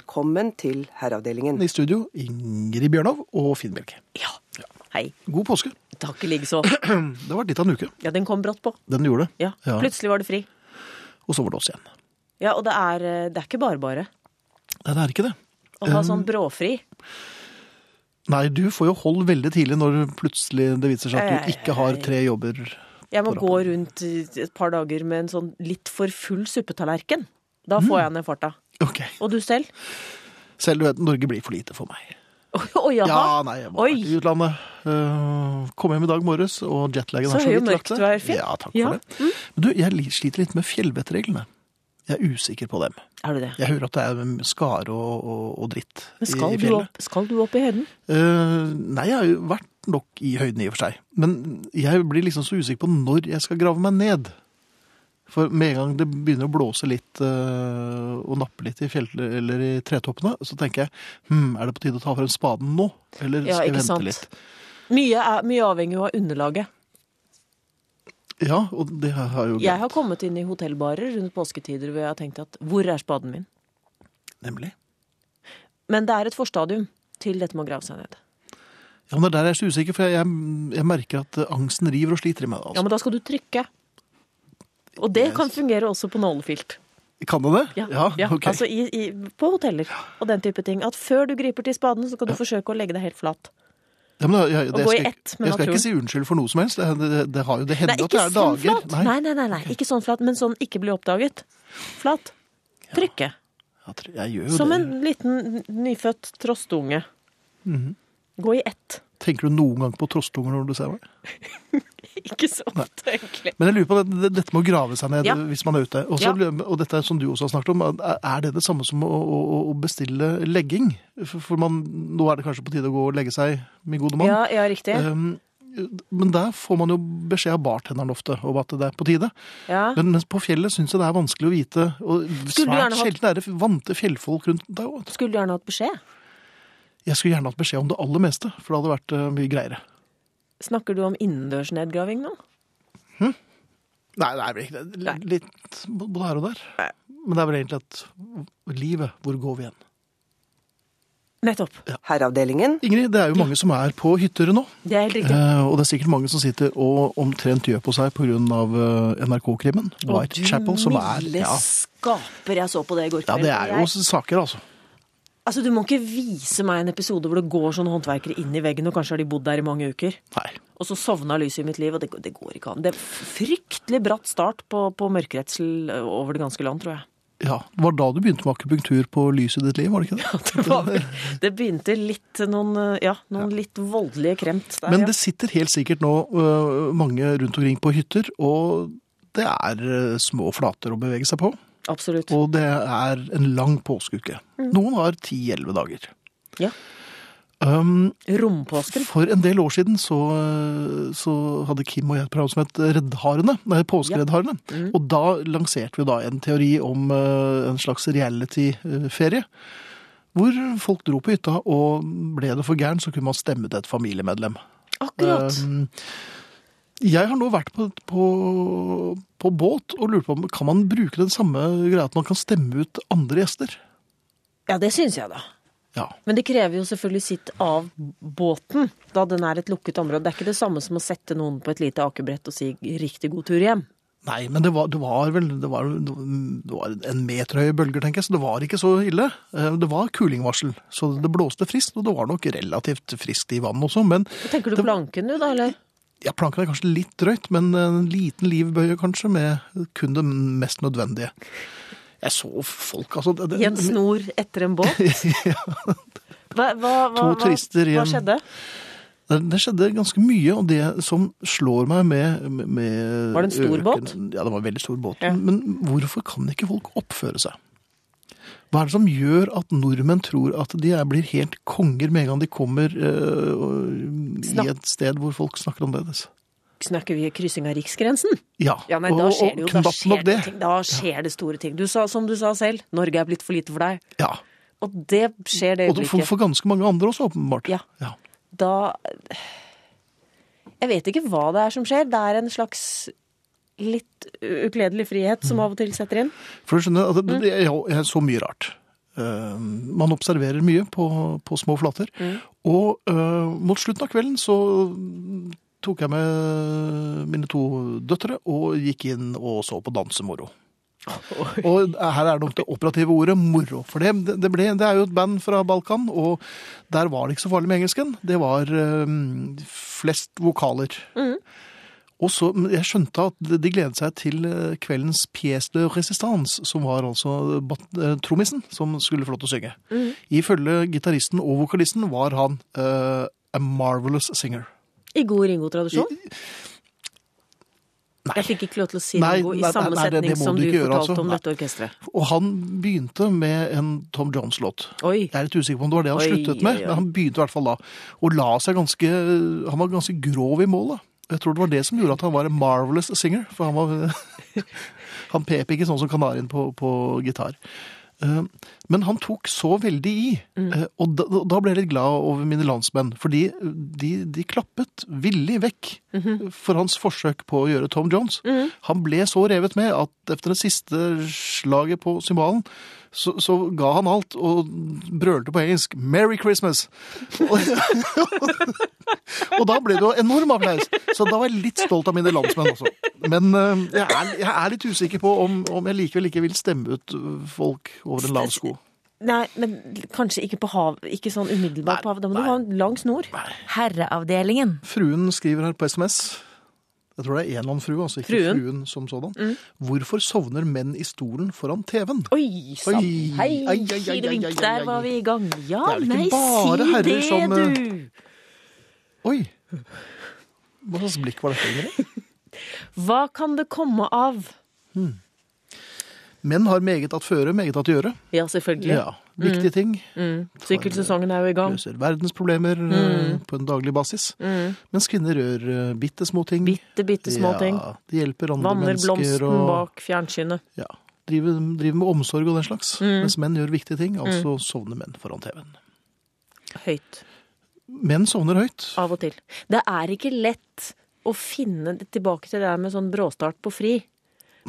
Velkommen til Herreavdelingen. I studio Ingrid Bjørnov og Finn Bjelke. Ja. Hei. God påske. Takk likeså. Det har vært litt av en uke. Ja, den kom brått på. Den gjorde det. Ja. Plutselig var det fri. Og så var det oss igjen. Ja, og det er, eh, det er ikke bare bare Nei, det er ikke det. å Um, ha sånn bråfri. Nei, du får jo hold veldig tidlig når plutselig det viser seg at du Ei, ikke har tre jobber. Jeg må på gå rundt i et par dager med en sånn litt for full suppetallerken. Da Mm. får jeg ned farta. Ok. Og du selv? Selv du vet, Norge blir for lite for meg. Å jaha. Ja, nei, jeg må Oi. vært i utlandet. Uh, kom hjem i dag morges, og jetlagen Så er så høy vidt og mørk lagt seg. du er, Finn. Ja, takk Ja. Mm. for det. Men du, jeg li- sliter litt med fjellvettreglene. Jeg er usikker på dem. Er du det? Jeg hører at det er skare og, og, og dritt Men i- skal i du, fjellet. opp, skal du opp i høyden? Eh, nei, jeg har jo vært nok i høyden i og for seg. Men jeg blir liksom så usikker på når jeg skal grave meg ned. For med en gang det begynner å blåse litt eh, og nappe litt i fjell, eller i tretoppene, så tenker jeg hm, er det på tide å ta frem spaden nå? Eller Ja, skal jeg ikke vente sant. litt? Mye, er, mye avhengig av underlaget. Ja, og det har jeg jo Jeg har kommet inn i hotellbarer rundt påsketider hvor jeg har tenkt at hvor er spaden min? nemlig. Men det er et forstadium til dette med å grave seg ned. Ja, men det er der jeg er så usikker, for jeg, jeg, jeg merker at eh, angsten river og sliter i meg. Ja, Altså. men da skal du trykke. Og det kan fungere også på nålefilt. Kan det det? Ja, ja, ja ok. altså i, i, på hoteller og den type ting. At før du griper til spaden, så skal du forsøke å legge deg helt flat. Ja, men jeg, jeg, Å det- jeg gå skal, i ikke- ett med Jeg skal ikke naturen. si unnskyld for noe som helst. Det, det, det har jo det Nei, hender at det ikke er sånn dager. flat. Nei, nei, nei, nei. Ikke sånn flat, men sånn ikke bli oppdaget. Flat. Trykke. Jeg, tror- jeg gjør jo Som det. en liten nyfødt trostunge. Mhm. Gå i ett. Tenker du noen gang på trostunger når du ser meg? Ikke så ofte, egentlig. Men jeg lurer på det, det, dette med å grave seg ned Ja. hvis man er ute. Og så Ja. lurer jeg- Og dette er som du også har snakket om, er er det det samme som å, å, å bestille legging? For, for man, nå er det kanskje på tide å gå og legge seg, min gode mann. Ja, ja, riktig. Um, men der får man jo beskjed av bartenderen ofte om at det er på tide. Ja. Men mens på fjellet syns jeg det er vanskelig å vite. Og Skulle du gjerne svært hatt- sjelden er det vante fjellfolk rundt deg òg. Skulle du gjerne hatt beskjed? Jeg skulle gjerne hatt beskjed om det aller meste, for det hadde vært eh, mye greiere. Snakker du om innendørsnedgraving nå? Nei, det er vel ikke det. Nei. L- Litt både her og der. Men det er vel egentlig at livet, hvor går vi hen? Nettopp. Herreavdelingen. Ingrid, det er jo mange som er på hytter nå. Det er helt riktig. eh, Og det er sikkert mange som sitter og omtrent gjør på seg pga. NRK-krimmen. Whitechapel, som er Milde ja, skaper, jeg så på det i går ja, kveld. det er jo jeg, saker, altså. altså, du må ikke vise meg en episode hvor det går sånne håndverkere inn i veggen, og kanskje har de bodd der i mange uker. Nei. Og så sovna lyset i mitt liv, og det, det går ikke an. Det er fryktelig bratt start på, på mørkeredsel over det ganske land, tror jeg. Ja, Det var da du begynte med akupunktur på lyset i ditt liv, var det ikke det? Det, var vel, det begynte litt noen, ja, noen litt voldelige kremt der. Men ja. det sitter helt sikkert nå øh, mange rundt omkring på hytter, og det er øh, små flater å bevege seg på. Absolutt. Og det er en lang påskeuke. Noen har 10-11 dager. Ja. Um, Rompåsken. for en del år siden så, øh, så hadde Kim og jeg et program som het Reddharene, nei, Påskereddharene. Og da lanserte vi da en teori om øh, en slags reality-ferie. Hvor folk dro på hytta, og ble det for gæren, så kunne man stemme til et familiemedlem. Akkurat. Um, jeg har nå vært på, på, på båt og lurt på om kan man bruke den samme greia at man kan stemme ut andre gjester. Ja, det syns jeg, da. Ja. Men det krever jo selvfølgelig sitt av båten, da den er et lukket område. Det er ikke det samme som å sette noen på et lite akebrett og si 'riktig god tur hjem'. Nei, men det var, det var vel det var, det var en meter høye bølger, tenker jeg, så det var ikke så ille. Eh, Det var kulingvarsel, så det blåste friskt, og det var nok relativt friskt i vannet også. Men Tenker du Det- planken du, da, eller? jeg planka det kanskje litt drøyt, men en liten livbøye kanskje, med kun det mest nødvendige. Jeg så folk, altså. det- det- I en snor etter en båt? Hva, hva, hva, To turister i hva, hva en- skjedde? Det, det skjedde ganske mye, og det som slår meg med, med Var det en stor båt? Ja, det var en veldig stor båt. Ja. Men hvorfor kan ikke folk oppføre seg? Hva er det som gjør at nordmenn tror at de er, blir helt konger med en gang de kommer eh, og- Snakk- i et sted hvor folk snakker annerledes? Snakker vi kryssing av riksgrensen? Ja, Ja, nei, da og- skjer det jo og da knapt skjer nok det, det. ting. da skjer det store ting. Du sa, som du sa selv, Norge er blitt for lite for deg. Ja, Og det skjer det Og det- for, øyeblikket. for ganske mange andre også, åpenbart. Ja. ja. Da Jeg vet ikke hva det er som skjer. Det er en slags litt ukledelig frihet som av og til setter inn. altså, For du skjønner, at det- det- jeg, jeg så mye rart. Um, man observerer mye på, på små flater. Og øh, mot slutten av kvelden så tok jeg med mine to døtre og gikk inn og så på dansemoro. Og her er nok det operative ordet moro. For det, det, ble, det er jo et band fra Balkan, og der var det ikke så farlig med engelsken. Det var øhm, flest vokaler. Og så, men Jeg skjønte at de gledet seg til eh, kveldens pièce de résistance, som var altså bat- eh, trommisen som skulle få lov til å synge. Mhm. Ifølge gitaristen og vokalisten var han eh, a marvelous singer. I god Ringo-tradisjon? Nei. Jeg fikk ikke lov til å si Nei, Ringo i nei, samme nei, det- det setning må som du du ikke gjøre, fortalte altså. om Nei. dette orkesteret. Og han begynte med en Tom Jones-låt. Oi. Jeg er litt usikker på om det var det han Oi, sluttet med, oi, oi. men han begynte i hvert fall da. Og la seg ganske Han var ganske grov i målet. Jeg tror det var det som gjorde at han var en marvelous singer. For han var Han pep ikke sånn som kanarien på, på gitar. Eh, Men han tok så veldig i, Eh, og da, da ble jeg litt glad over mine landsmenn. Fordi de, de klappet villig vekk for hans forsøk på å gjøre Tom Jones. Han ble så revet med at etter det siste slaget på cymbalen, så, så ga han alt og brølte på engelsk 'Merry Christmas'. Og, og da ble det jo enorm applaus. Så da var jeg litt stolt av mine landsmenn også. Men eh, jeg er, jeg er litt usikker på om, om jeg likevel ikke vil stemme ut eh, folk over en lav sko. Nei, men kanskje ikke på hav, ikke sånn umiddelbart på havet. Da må du ha en lang snor. Herreavdelingen. Fruen skriver her på SMS. Jeg tror det er en eller annen frue, altså ikke Fruen. Mm. fruen, som sådan. Hvorfor sovner menn i stolen foran TV-en? Oi sann! Oi. Hei, Ai, ai, ai, kilevink, ai, ai, ai, der ai. var vi i gang. Ja, Det er vel ikke nei, bare si herrer det, som, eh, du! Oi! Hva slags blikk var dette? egentlig? Hva kan det komme av? Menn har meget at føre, meget at gjøre. Ja, Mm. selvfølgelig. Ja, Viktige ting. Sykkelsesongen er jo i gang. Løser verdensproblemer Mm. eh, på en daglig basis. Mens kvinner gjør uh, bitte små ting. Bitte, bitte små ting. Ja, de hjelper andre Vanner mennesker. blomsten Og, bak fjernsynet. Ja, driver, driver med omsorg og den slags. Mm. Mens menn gjør viktige ting. Altså sovner menn foran TV-en. Høyt. Menn sovner høyt. Av og til. Det er ikke lett å finne tilbake til det der med sånn bråstart på fri.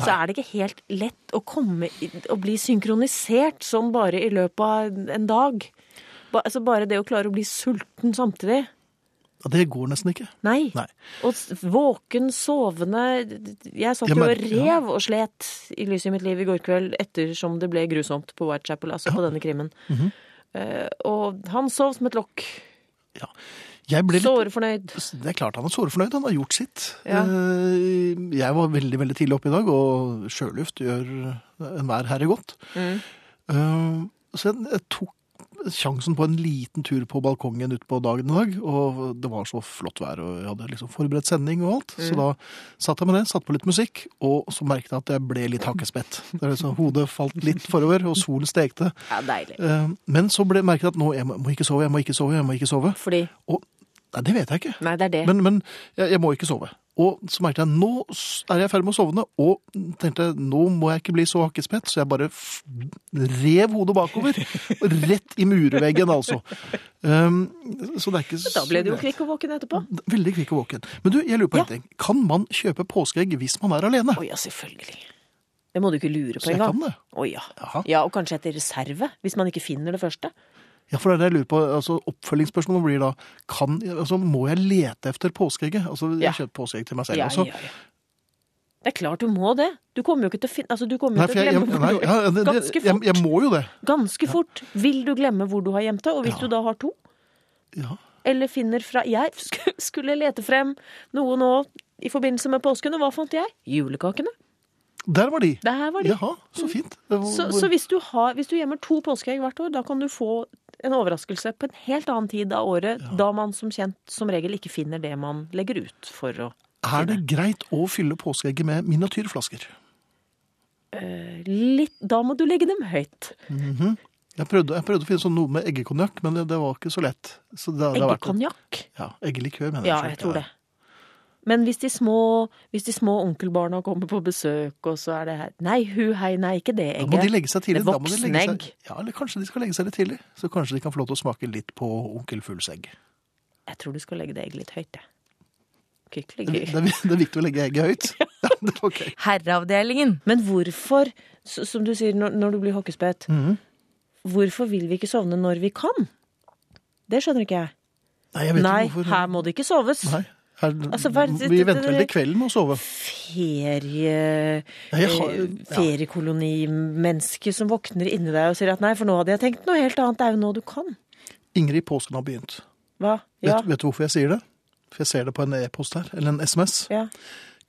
Så er det ikke helt lett å komme i- å bli synkronisert sånn bare i løpet av en dag. Ba, altså bare det å klare å bli sulten samtidig. Ja, det går nesten ikke. Nei. Nei. Og s- våken, sovende Jeg satt Jeg jo og merker- ja. rev og slet i lyset i mitt liv i går kveld ettersom det ble grusomt på Whitechapel, altså på denne krimmen. Mhm. Eh, og han sov som et lokk. Ja. Jeg ble litt... Såre fornøyd. Det er klart han er sårefornøyd. Han har gjort sitt. Ja. Eh, Jeg var veldig veldig tidlig oppe i dag, og sjøluft gjør enhver herre godt. Eh, Så jeg, jeg tok sjansen på en liten tur på balkongen utpå dagen i dag. Og det var så flott vær, og jeg hadde liksom forberedt sending og alt. Så da satt jeg med det, satte på litt musikk, og så merket jeg at jeg ble litt hakkespett. Det er liksom, hodet falt litt forover, og solen stekte. Ja, deilig. Eh, Men så ble, merket jeg at nå, jeg må må ikke sove, jeg må ikke sove, jeg må ikke sove. Fordi Og Nei, det vet jeg ikke. Nei, det er det. Men, men jeg, jeg må ikke sove. Og så merket jeg nå s- er jeg i ferd med å sovne, og tenkte nå må jeg ikke bli så hakkespett, så jeg bare f rev hodet bakover. og Rett i murveggen, altså. Um, så det er ikke da ble du jo så greit. kvikk og våken etterpå. Veldig kvikk og våken. Men du, jeg lurer på en Ja. ting. Kan man kjøpe påskeegg hvis man er alene? Å ja, selvfølgelig. Det må du ikke lure på Så jeg engang. kan det. Å ja. Jaha. ja. Og kanskje etter reserve, hvis man ikke finner det første. Ja, for det er det jeg lurer på. Altså, oppfølgingsspørsmålet blir da kan, altså, Må jeg lete etter påskeegget? Altså, Ja. jeg kjøper påskeegg til meg selv Ja, ja, også. ja. Det er klart du må det. Du kommer jo ikke til å finne Altså, du kommer Nei, jo for til å jeg, jeg, glemme nei, hvor du ja, det, det, Ganske jeg, fort. jeg må jo det. Ganske fort vil du glemme hvor du har gjemt det, og hvis du da har to, Ja. eller finner fra Jeg sk- skulle lete frem noe nå i forbindelse med påsken, og hva fant jeg? Julekakene. Der var de. Der var de. Jaha, så fint. Det var, Så, så hvis, du har, hvis du gjemmer to påskeegg hvert år, da kan du få en overraskelse på en helt annen tid av året, da man som kjent som regel ikke finner det man legger ut for å er det greit å fylle påskeegget med miniatyrflasker? Litt Da må du legge dem høyt. Jeg prøvde, jeg prøvde å finne sånn noe med eggekonjakk, men det, det var ikke så lett. Så det, det har vært- Eggekonjakk. Ja, eggelikør, mener jeg. Ja, selv. jeg tror det. Men hvis de små, hvis de små onkelbarna kommer på besøk, og så er det her Nei, hu, hei, nei, ikke det Da egget. må de legge seg tidlig. Det Da må de legge seg- voksenegg. Ja, eller kanskje de skal legge seg litt tidlig. Så kanskje de kan få lov til å smake litt på onkel Fugls egg. Jeg tror du skal legge det egget litt høyt, jeg. Det, Kykkelig. det, er viktig å legge egget høyt. Ja, det er ok. Herreavdelingen. Mhm. Men hvorfor, s- som du sier når, når du blir hockeyspett Hvorfor vil vi ikke sovne når vi kan? Det skjønner ikke jeg. Nei, jeg vet Nei, ikke hvorfor. her må det ikke soves. Nei. Her, Altså, hva er det- vi venter vel til kvelden med å sove. Ferie... Nei, jeg har- eh, ja. Feriekolonimenneske som våkner inni deg og sier at nei, for nå hadde jeg tenkt noe helt annet. Det er jo nå du kan. Ingrid påsken har begynt. Hva? Ja. Vet, vet du hvorfor jeg sier det? For jeg ser det på en e-post her, eller en SMS. ja.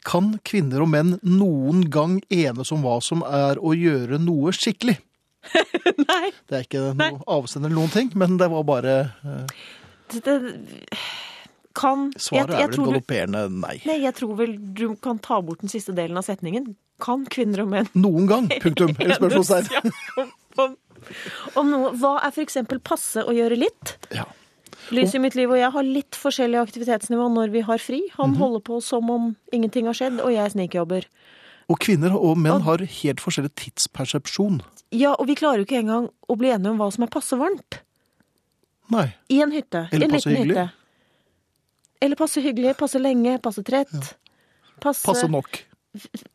Kan kvinner og menn noen gang enes om hva som er å gjøre noe skikkelig? Nei. Det er ikke noe avsender eller noen ting, men det var bare eh, Det, det, kan jeg, Svaret jeg er vel tror du- galopperende nei. Nei, jeg tror vel du kan ta bort den siste delen av setningen. Kan kvinner og menn Noen gang, punktum. Eller spørsmålstegn. enes, ja, om, om noe? Hva er f.eks. passe å gjøre litt? Ja. Lys i mitt liv og jeg har litt forskjellig aktivitetsnivå når vi har fri. Han Mhm. holder på som om ingenting har skjedd, og jeg snikjobber. Og kvinner og menn har helt forskjellig tidspersepsjon. Ja, og vi klarer jo ikke engang å bli enige om hva som er passe varmt. Nei. I en hytte. Eller I en passe liten hyggelig. hytte. Eller passe hyggelig, passe lenge, passe trett. Passe, Passe nok.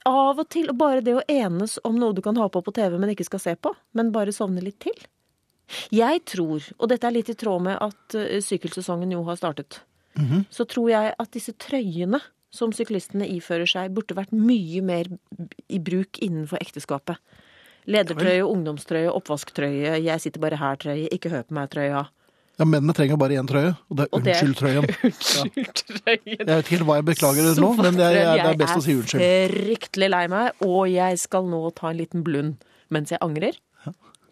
av og til. Og bare det å enes om noe du kan ha på på TV, men ikke skal se på. Men bare sovne litt til. Jeg tror, og dette er litt i tråd med at eh, sykkelsesongen jo har startet, så tror jeg at disse trøyene som syklistene ifører seg, burde vært mye mer i bruk innenfor ekteskapet. Ledertrøye, ungdomstrøye, oppvasktrøye, jeg sitter bare her-trøye, ikke hør på meg-trøya. Ja, Mennene trenger bare én trøye, og det er Og det er- unnskyld-trøyen. Unnskyld-trøyen. Jeg vet ikke helt hva jeg beklager nå, men jeg, jeg, det er best å si unnskyld. Jeg er fryktelig lei meg, og jeg skal nå ta en liten blund mens jeg angrer.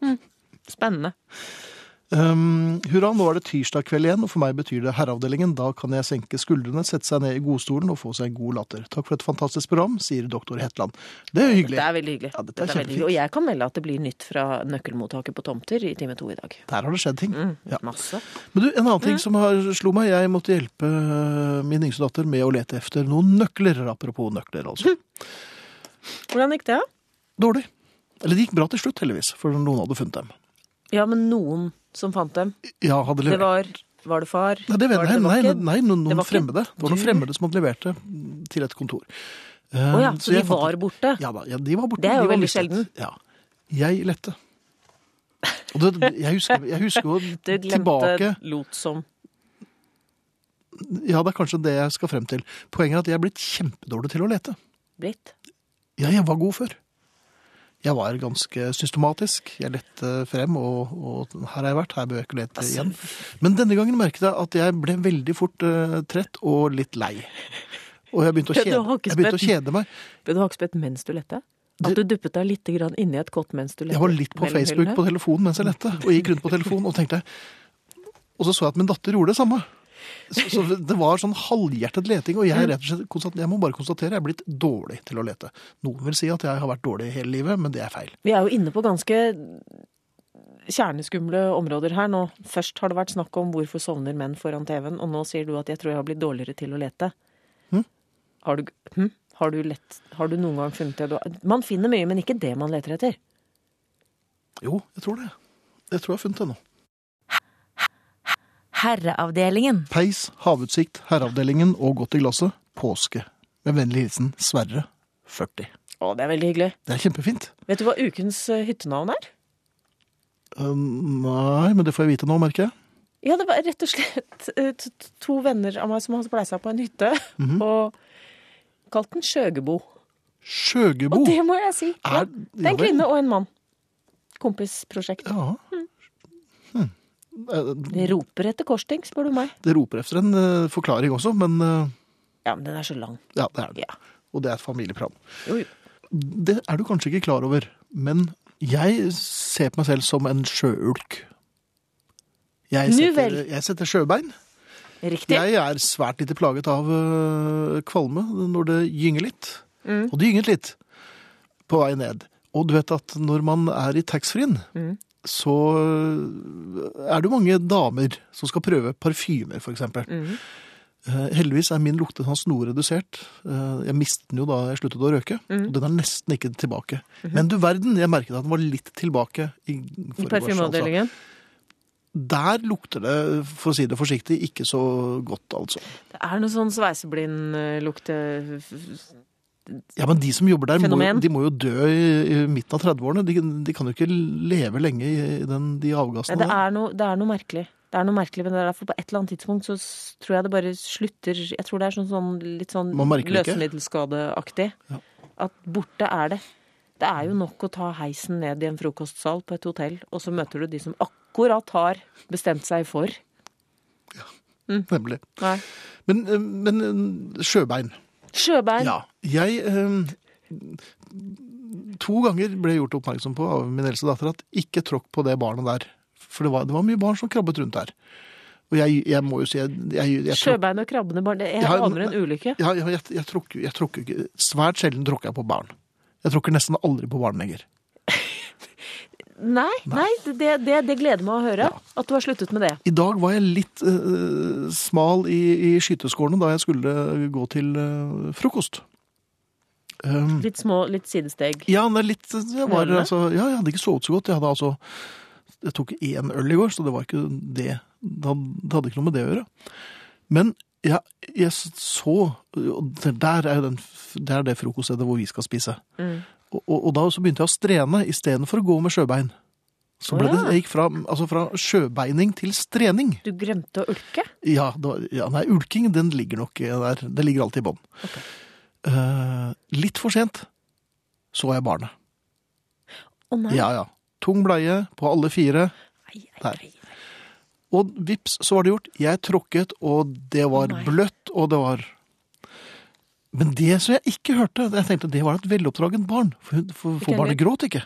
Mm. Spennende. Um, hurra, nå er det tirsdag kveld igjen, og for meg betyr det herreavdelingen. Da kan jeg senke skuldrene, sette seg ned i godstolen og få seg en god latter. Takk for et fantastisk program, sier doktor Hetland. Det er hyggelig. Det er veldig hyggelig. Ja, dette er Dette er veldig kjempefint. hyggelig. Og jeg kan melde at det blir nytt fra nøkkelmottaket på tomter i time to i dag. Der har det skjedd ting. Mm. Ja. Masse. Men du, en annen Mm. ting som har slo meg, jeg måtte hjelpe øh, min yngste datter med å lete efter noen nøkler, apropos nøkler Hm. altså. Hvordan gikk det? Dårlig. Eller det gikk bra til slutt, heldigvis, for noen hadde funnet dem. Ja, men noen som fant dem. Ja, hadde Det levert. var Var det far? Nei, det, var vet jeg. nei, nei, ikke- nei, noen, det noen var ikke fremmede. Det var noen du? fremmede som hadde levert det til et kontor. Eh, Å ja, så de jeg fant- var borte? Ja da, ja, de var borte. Det er jo de var veldig mistet. sjelden. Ja. Jeg lette. Og det, jeg husker, jeg husker jo Det tilbake glemte lot som. Ja, det er kanskje det jeg skal frem til. Poenget er at jeg er blitt kjempedårlig til å lete. Blitt. Ja, jeg var god før. Jeg var ganske systematisk. Jeg lette frem, og, og her har jeg vært, her bør jeg ikke lete igjen. Men denne gangen merket jeg at jeg ble veldig fort eh, trett og litt lei. Og jeg begynte å Ja, du kjede, har ikke jeg begynte å spett. kjede meg. Ble du hakspett mens du lette? At du duppet deg litt grann inni et kott mens du lette? Jeg var litt på mellom Facebook hyllene? på telefonen mens jeg lette, og gikk rundt på telefonen og tenkte Og så så jeg at min datter gjorde det samme. Så, så det var sånn halvhjertet leting, og jeg rett og slett konstat- jeg må bare konstatere jeg er blitt dårlig til å lete. Noen vil si at jeg har vært dårlig hele livet, men det er feil. Vi er jo inne på ganske kjerneskumle områder her nå. Først har det vært snakk om hvorfor sovner menn foran TV-en, og nå sier du at jeg tror jeg har blitt dårligere til å lete. Har, du, hm? har, du lett, har du noen gang funnet det? du- Man finner mye, men ikke det man leter etter. Jo, jeg tror det. Jeg tror jeg har funnet det nå. Herreavdelingen. Peis, havutsikt, herreavdelingen og godt i glasset. Påske. Med vennlig hilsen Sverre 40. Å, det er veldig hyggelig. Det er kjempefint. Vet du hva ukens eh, hyttenavn er? Eh, nei, men det får jeg vite nå, merker jeg. Ja, det var rett og slett eh, t- t- to venner av meg som hadde pleisa på en hytte, og kalt den Sjøgebo. Sjøgebo. Og det må jeg si. Ja, Er- det er ja en vel. kvinne Mm. og en mann. Kompisprosjekt. Ja. Hm. Eh, De roper etter korsting, spør du meg. Det roper efter en eh, forklaring også, men eh, Ja, men den er så lang. ja, det er det. Ja. Og det er et familieprogram. Jo, jo. Det er du kanskje ikke klar over, men jeg ser på meg selv som en sjøulk. Jeg Nu setter, vel. jeg setter sjøbein. Riktig. Jeg er svært lite plaget av øh, kvalme når det gynger litt. Og det gynget litt på vei ned. Og du vet at når man er i taxfree-en, så øh, er det jo mange damer som skal prøve parfymer, f.eks. Mm. heldigvis er min lukte sånn snorredusert. Eh, jeg mistet den jo da jeg sluttet å røyke. Og den er nesten ikke tilbake. Men du verden, jeg merket at den var litt tilbake i I forgårs, altså. parfymeavdelingen. Der lukter det, for å si det forsiktig, ikke så godt, altså. eh, Det er noe sånn sveiseblind-lukte Ja, men de som jobber der, må, jo- Fenomen. de må jo dø i, i midten av 30-årene. De, de kan jo ikke leve lenge i den, de Nei, avgassene. det, er noe, det er noe merkelig. Det er noe merkelig, men det er derfor på et eller annet tidspunkt så s- tror jeg det bare slutter Jeg tror det er sånn, sånn litt sånn Man merker det ikke. løsemiddelskadeaktig. Ja. At borte er det. Det er jo nok å ta heisen ned i en frokostsal på et hotell, og så møter du de som akkurat har bestemt seg for. der, nemlig. Nei. Men, eh, men eh, sjøbein. Sjøbein. Ja. Jeg eh, To ganger ble jeg gjort oppmerksom på av min eldste datter at ikke tråkk på det barnet der. For det var, det var mye barn som krabbet rundt der. Og jeg, jeg må jo si jeg, jeg, jeg, tråkk- Sjøbein og krabbene barn. Det- Jeg Ja, aner en ulykke. ja, ja, jeg, jeg, tråkker- jeg tråkker ikke Svært sjelden tråkker jeg på barn. Jeg tråkker nesten aldri på barn lenger. Nei, nei det, det, det gleder meg å høre. At du har sluttet med det. I dag var jeg litt eh, smal i, i skyteskårene da jeg skulle gå til eh, frokost. Um, Litt små, litt sidesteg. ja, det er litt jeg, var, Ølene? altså, ja, jeg hadde ikke sovet så godt. Jeg, hadde, altså, jeg tok én øl i går, så det var ikke det. Det hadde, det hadde ikke noe med det å gjøre. Men jeg, jeg så og det Der er jo den, f- det, er det frokoststedet hvor vi skal spise. Mm. Og, og, og da så begynte jeg å strene istedenfor å gå med sjøbein. Så ble Å, det, ja. jeg gikk fra, altså fra sjøbeining til strening. Du glemte å ulke? Ja, det var, ja, nei, ulking den ligger nok eh, der. Det ligger alltid i bånn. Eh, litt for sent så jeg barnet. Å nei. Ja, ja. Tung bleie på alle fire. Ai, ai, Nei. ai. Og vips, så var det gjort. Jeg tråkket, og det var Å, nei. bløtt, og det var Men det som jeg ikke hørte, jeg tenkte det var et veloppdragent barn. For, hun- for, for Ikke barnet gråt ikke.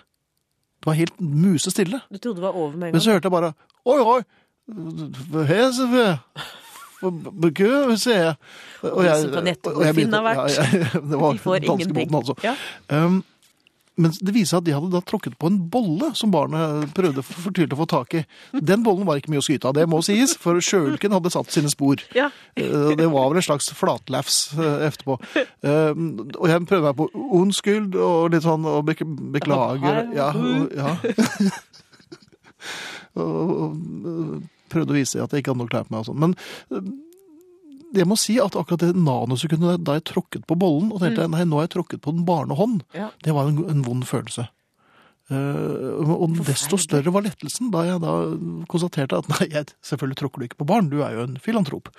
Det var helt musestille. Du trodde det var over med en Men gang? så hørte jeg bare Oi, oi! Hei, Sofie! Gud, sier jeg. Og De som på nettet hvor Finn har vært. ja, jeg, det var De får ingenting. danskebåten, altså. Ja. Um, men det viser seg at de hadde da tråkket på en bolle som barnet prøvde fortvilt å få tak i. Den bollen var ikke mye å skyte av, det må sies, for sjøulken hadde satt sine spor. Ja. Eh, Det var vel en slags flatlefs eh, etterpå. Eh, Og jeg prøvde meg på unnskyld og litt sånn og bek beklager. Ja, og- ja. Og og, eh, prøvde å vise at jeg ikke hadde nok klær på meg og sånn. Men eh, jeg må si at akkurat det nanosekundet da jeg tråkket på bollen og tenkte nei, nå har jeg tråkket på den barnehånd, Ja. det var en, en vond følelse. Eh, og desto større var lettelsen da jeg da konstaterte at nei, jeg, selvfølgelig tråkker du ikke på barn, du er jo en filantrop.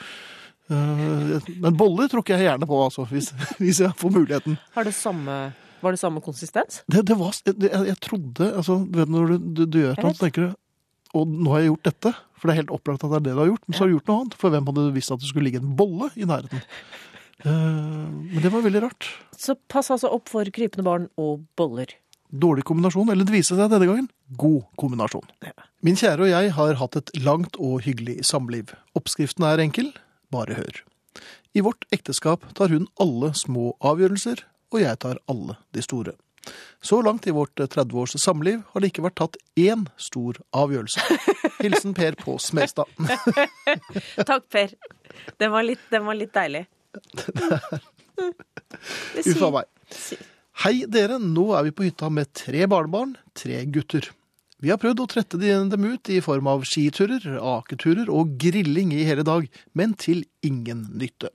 Eh, Men boller tråkker jeg gjerne på, altså, hvis, hvis jeg får muligheten. Har det samme, var det samme konsistens? Det, det var, jeg, jeg, jeg trodde altså, du vet, Når du, du, du gjør Jeg noe, så tenker du Og nå har jeg gjort dette, for det er helt opplagt at det er det du har gjort. Men så har du gjort noe annet, for hvem hadde visst at det skulle ligge en bolle i nærheten? Eh, men det var veldig rart. Så pass altså opp for krypende barn og boller. Dårlig kombinasjon, eller det viste seg denne gangen, god kombinasjon. Min kjære og jeg har hatt et langt og hyggelig samliv. Oppskriften er enkel, bare hør. I vårt ekteskap tar hun alle små avgjørelser, og jeg tar alle de store. Så langt i vårt 30-års samliv har det ikke vært tatt én stor avgjørelse. Hilsen Per på Smestad. Takk, Per. Den var litt, den var litt deilig. Det Uff a sier- meg. Hei dere, nå er vi på hytta med tre barnebarn, tre gutter. Vi har prøvd å trette de- dem ut i form av skiturer, aketurer og grilling i hele dag, men til ingen nytte.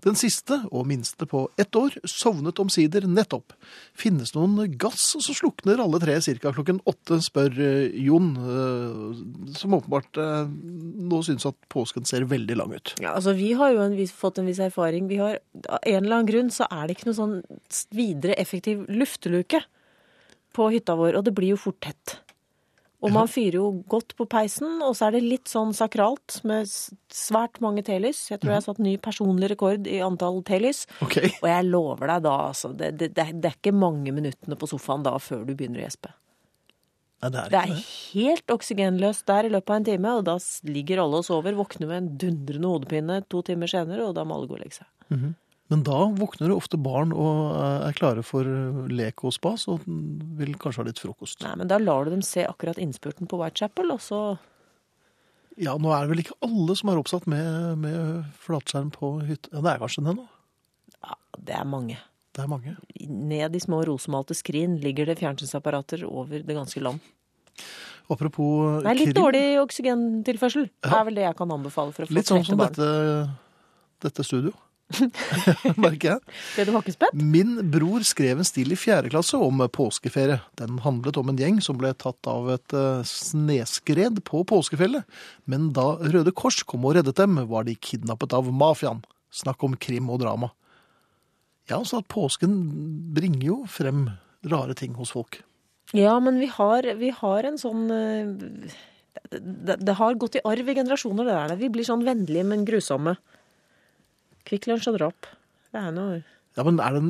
Den siste, og minste på ett år, sovnet omsider nettopp. Finnes det noen gass, så slukner alle tre ca. klokken åtte, spør eh, Jon, eh, som åpenbart eh, nå syns at påsken ser veldig lang ut. Ja, altså, vi har jo en viss, fått en viss erfaring. Vi har, av en eller annen grunn så er det ikke noe sånn videre effektiv lufteluke på hytta vår, og det blir jo fort tett. Og man fyrer jo godt på peisen, og så er det litt sånn sakralt med s- svært mange telys. Jeg tror jeg har satt ny personlig rekord i antall telys. Ok, Og jeg lover deg da, altså, det, det, det, er- det er ikke mange minuttene på sofaen da før du begynner å gjespe. Nei, det er Det ikke er det. helt oksygenløst der i løpet av en time, og da s- ligger alle og sover, våkner med en dundrende hodepine to timer senere, og da må alle gå og legge seg. Men da våkner det ofte barn og eh, er klare for lek og spas, og vil kanskje ha litt frokost. Nei, men da lar du dem se akkurat innspurten på Whitechapel, og så Ja, nå er det vel ikke alle som er oppsatt med, med flatskjerm på hytta. Ja, det er kanskje det nå. Ja, det er mange. Det er mange. Ned i små rosemalte skrin ligger det fjernsynsapparater over det ganske land. Apropos eh, Nei, litt krim. dårlig oksygentilførsel. Det er vel det jeg kan anbele for å få Litt sånn som trette barn. dette, dette studio. merker jeg. Ble du hakkespett? Min bror skrev en stil i fjerde klasse om påskeferie. Den handlet om en gjeng som ble tatt av et eh, sneskred på påskefjellet. Men da Røde Kors kom og reddet dem, var de kidnappet av mafiaen. Snakk om krim og drama. Ja, så at påsken bringer jo frem rare ting hos folk. Ja, men vi har, vi har en sånn eh, det, det, det har gått i arv i generasjoner, det der. Vi blir sånn vennlige, men grusomme. Kvikk Lunsj og drap. Det er noe Ja, men er den,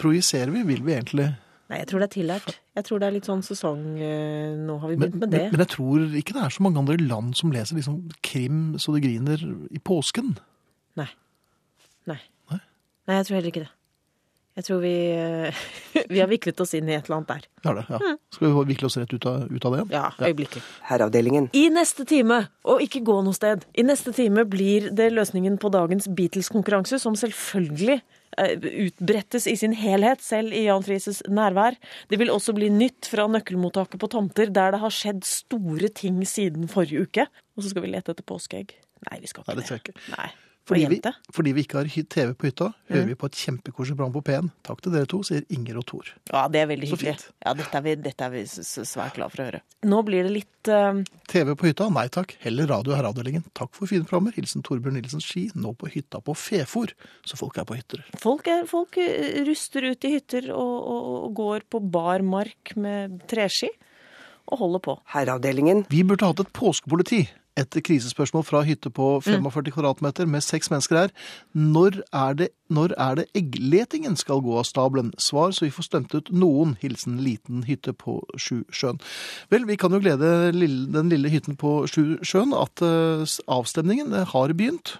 projiserer vi? Vil vi egentlig? Nei, jeg tror det er tillært. Jeg tror det er litt sånn sesong eh, Nå har vi Men, begynt men, med det. men jeg tror ikke det er så mange andre land som leser liksom krim så det griner i påsken. Nei. Nei. Nei? Nei, jeg tror heller ikke det. Jeg tror vi eh, Vi har viklet oss inn i et eller annet der. Ja, det, ja. Skal vi vikle oss rett ut av, ut av det igjen? Ja, øyeblikket. Herreavdelingen. I neste time, og ikke gå noe sted, i neste time blir det løsningen på dagens Beatles-konkurranse, som selvfølgelig eh, utbrettes i sin helhet, selv i Jan Frieses nærvær. Det vil også bli nytt fra nøkkelmottaket på tomter, der det har skjedd store ting siden forrige uke. Og så skal vi lete etter påskeegg. Nei, vi skal ikke Nei, det skal jeg ikke. Nei. Fordi Og vi, jente. fordi vi ikke har hy- TV på hytta, hører vi på et kjempekoselig program på P1. Takk til dere to, sier Inger og Tor. Ja, det er veldig Så hyggelig. fint. Ja, dette er vi, dette er vi s- s- svært glad for å høre. Nå blir det litt eh, TV på hytta, nei takk. Heller radio her, avdelingen. Takk for fine programmer. Hilsen Torbjørn Nilsen Ski, nå på hytta på Fefor. Så folk er på hytter. Folk, er, folk eh, ruster ut i hytter og, og, og går på bar mark med treski og holder på. Herreavdelingen. Vi burde hatt et påskepoliti. Et krisespørsmål fra hytte på 45 kvadratmeter med seks mennesker her. Når er, det, når er det eggletingen skal gå av stabelen? Svar så vi får stemt ut noen. Hilsen liten hytte på Sjusjøen. Vel, vi kan jo glede lille, den lille hytten på Sjusjøen at eh, s- avstemningen eh, har begynt.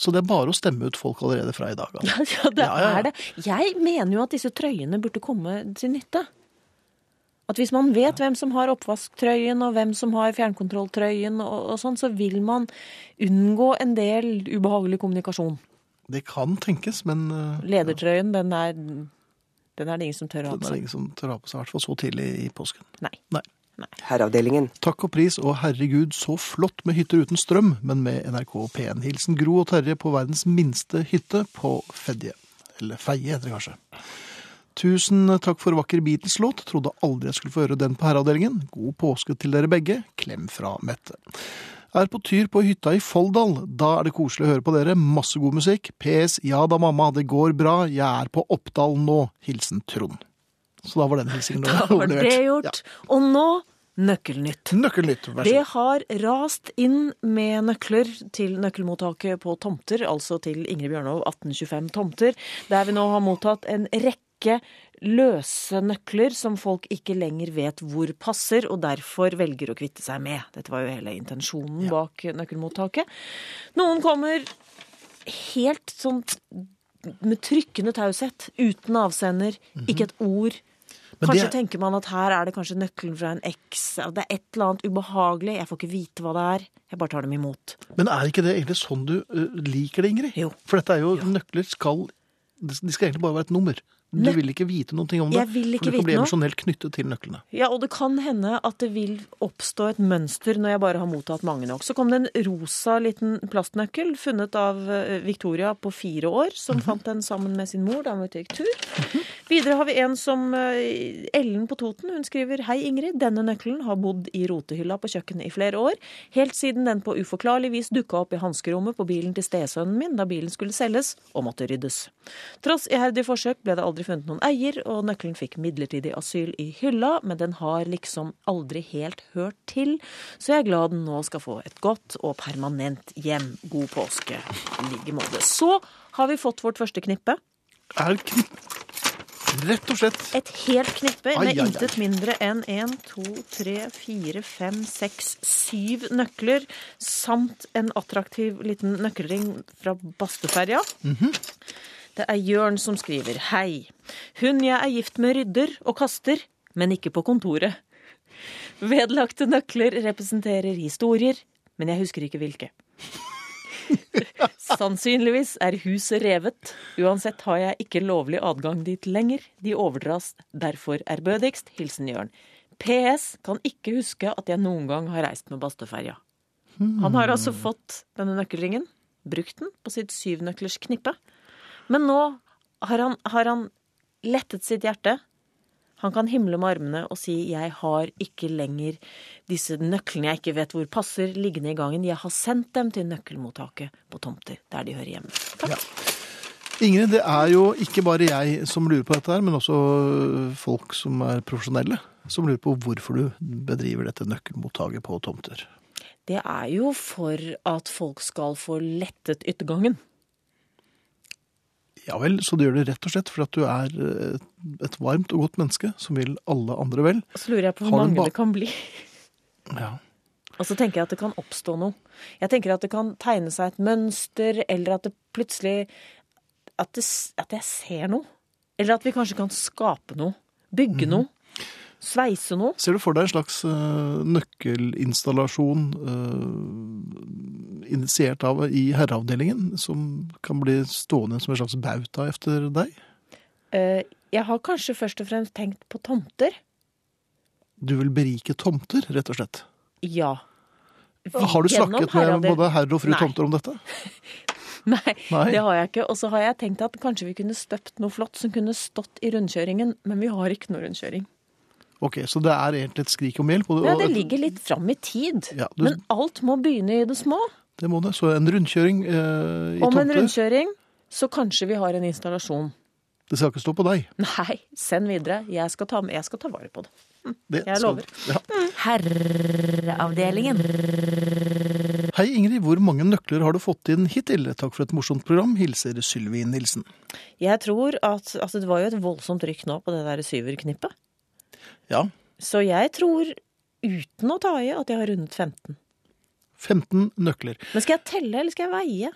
Så det er bare å stemme ut folk allerede fra i dag. Altså. Ja, det Ja, ja, ja. er det. Jeg mener jo at disse trøyene burde komme til nytte. At hvis man vet hvem som har oppvasktrøyen og hvem som har fjernkontrolltrøyen og, og sånn, så vil man unngå en del ubehagelig kommunikasjon. Det kan tenkes, men eh, Ledertrøyen, den er, den er det ingen som tør å ha det på er seg. ingen som tør ha på seg, i hvert fall så tidlig i påsken. Nei. Nei. Herreavdelingen. Takk og pris, og herregud, så flott med hytter uten strøm, men med NRK P1. Hilsen Gro og Terje på verdens minste hytte på Fedje. Eller Feie, heter det kanskje. Tusen takk for vakker Beatles-låt. Trodde aldri jeg skulle få høre den på herreavdelingen. God påske til dere begge. Klem fra Mette. Er på tyr på hytta i Folldal. Da er det koselig å høre på dere. Masse god musikk. PS. Ja da, mamma, det går bra. Jeg er på Oppdal nå. Hilsen Trond. Så da var den hilsenen Da var det Ja. gjort. Og nå Nøkkelnytt. Nøkkelnytt, vær så Det god. har rast inn med nøkler til nøkkelmottaket på tomter, altså til Ingrid Bjørnov 1825 Tomter, der vi nå har mottatt en rekke løse nøkler som folk ikke lenger vet hvor passer, og derfor velger å kvitte seg med. Dette var jo hele intensjonen bak nøkkelmottaket. Noen kommer helt sånn med trykkende taushet, uten avsender, ikke et ord. Mhm. Men Kanskje det- tenker man at her er det kanskje nøkkelen fra en eks. at Det er et eller annet ubehagelig. Jeg får ikke vite hva det er. Jeg bare tar dem imot. Men er ikke det egentlig sånn du ø, liker det, Ingrid? Jo. For dette er jo nøkler skal De de skal egentlig bare være et nummer. Du Nøk- vil ikke vite noen ting om det. Jeg vil ikke for du kan vite bli noe. emosjonelt knyttet til nøklene. Ja, og det kan hende at det vil oppstå et mønster når jeg bare har mottatt mange nok. Så kom det en rosa liten plastnøkkel funnet av eh, Victoria på fire år, som fant den sammen med sin mor da hun var ute og gikk tur. Videre har vi en som eh, Ellen på Toten. Hun skriver Hei, Ingrid. Denne nøkkelen har bodd i rotehylla på kjøkkenet i flere år, helt siden den på uforklarlig vis dukka opp i hanskerommet på bilen til stesønnen min da bilen skulle selges og måtte ryddes. Tross iherdige forsøk ble det aldri funnet noen eier, og nøkkelen fikk midlertidig asyl i hylla, men den har liksom aldri helt hørt til, så jeg er glad den nå skal få et godt og permanent hjem. God påske i like måte. Så har vi fått vårt første knippe. Er kn... Rett og slett. Et helt knippe Ai, med ai, ai. intet mindre enn 1, 2, 3, 4, 5, 6, 7 nøkler samt en attraktiv liten nøkkelring fra Bastøferja. Mhm. Det er Jørn som skriver Hei. Hun jeg er gift med rydder og kaster, men ikke på kontoret. Vedlagte nøkler representerer historier, men jeg husker ikke hvilke. Sannsynligvis er huset revet. Uansett har jeg ikke lovlig adgang dit lenger. De overdras derfor ærbødigst. Hilsen Jørn. PS. Kan ikke huske at jeg noen gang har reist med Bastøferja. Han har altså fått denne nøkkelringen. brukt den på sitt syvnøklers knippe. Men nå har han, har han lettet sitt hjerte. Han kan himle med armene og si 'jeg har ikke lenger disse nøklene jeg ikke vet hvor passer, liggende i gangen'. Jeg har sendt dem til nøkkelmottaket på tomter der de hører hjemme. Takk. Ingrid, det er jo ikke bare jeg som lurer på dette her, men også folk som er profesjonelle, som lurer på hvorfor du bedriver dette nøkkelmottaket på tomter. Det er jo for at folk skal få lettet yttergangen. Ja vel, så du gjør det rett og slett fordi at du er eh, et varmt og godt menneske som vil alle andre vel. Så lurer jeg på hvor Har du en mange bak- det kan bli. Ja. Og så tenker jeg at det kan oppstå noe. Jeg tenker at det kan tegne seg et mønster, eller at det plutselig At, det, s- at jeg ser noe. Eller at vi kanskje kan skape noe. Bygge Mhm. noe. Sveise noe. Ser du for deg en slags eh, nøkkelinstallasjon eh, initiert av i herreavdelingen, som kan bli stående som en slags bauta efter deg? Eh, Jeg har kanskje først og fremst tenkt på tomter. Du vil berike tomter, rett og slett. Ja. Har du Gjennom snakket med herreavdel- både herr og fru Nei. Tomter om dette? Nei, Nei. det har jeg ikke. Og så har jeg tenkt at kanskje vi kunne støpt noe flott som kunne stått i rundkjøringen, men vi har ikke noe rundkjøring. Ok, så det er egentlig et skrik om hjelp. og- Ja, og- det ligger litt fram i tid. Ja, du- Men alt må begynne i det små. Det må det. Så en rundkjøring eh, i Om en tomter. rundkjøring, så kanskje vi har en installasjon. Det skal ikke stå på deg. Nei, send videre. Jeg skal ta, med. Jeg skal ta vare på det. Det Jeg skal- lover. Ja. Herreavdelingen. Hei Ingrid, hvor mange nøkler har du fått inn hittil? Takk for et morsomt program. Hilser Sylvi Nilsen. Jeg tror at Altså, det var jo et voldsomt rykk nå på det der syverknippet. Ja, Så jeg tror, uten å ta i, at jeg har rundet 15. 15 nøkler. Men skal jeg telle, eller skal jeg veie?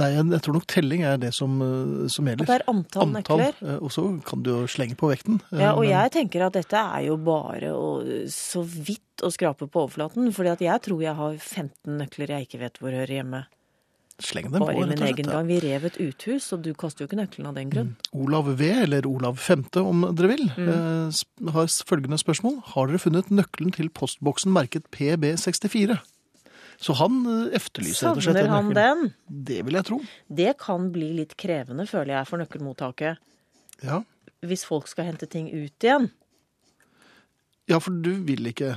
Nei, jeg, jeg tror nok telling er det som, eh, som gjelder. At det er antall, nøkler? eh, Og så kan du jo slenge på vekten. eh, Ja, og men- jeg tenker at dette er jo bare å, så vidt å skrape på overflaten. fordi at jeg tror jeg har 15 nøkler jeg ikke vet hvor hører hjemme. Sleng dem på, Bare i rett og min slett. Mm, egen ja. gang. Vi rev et uthus, og du kaster jo ikke nøkkelen av den grunn. Olav V, eller Olav 5, om dere vil, Mm. eh, sp- har s- følgende spørsmål. Har dere funnet nøkkelen til postboksen merket PB64? Så han eh, efterlyser rett og slett Savner en han nøkkel. den? Det vil jeg tro. Det kan bli litt krevende, føler jeg, for nøkkelmottaket. Ja, Hvis folk skal hente ting ut igjen. ja for du vil ikke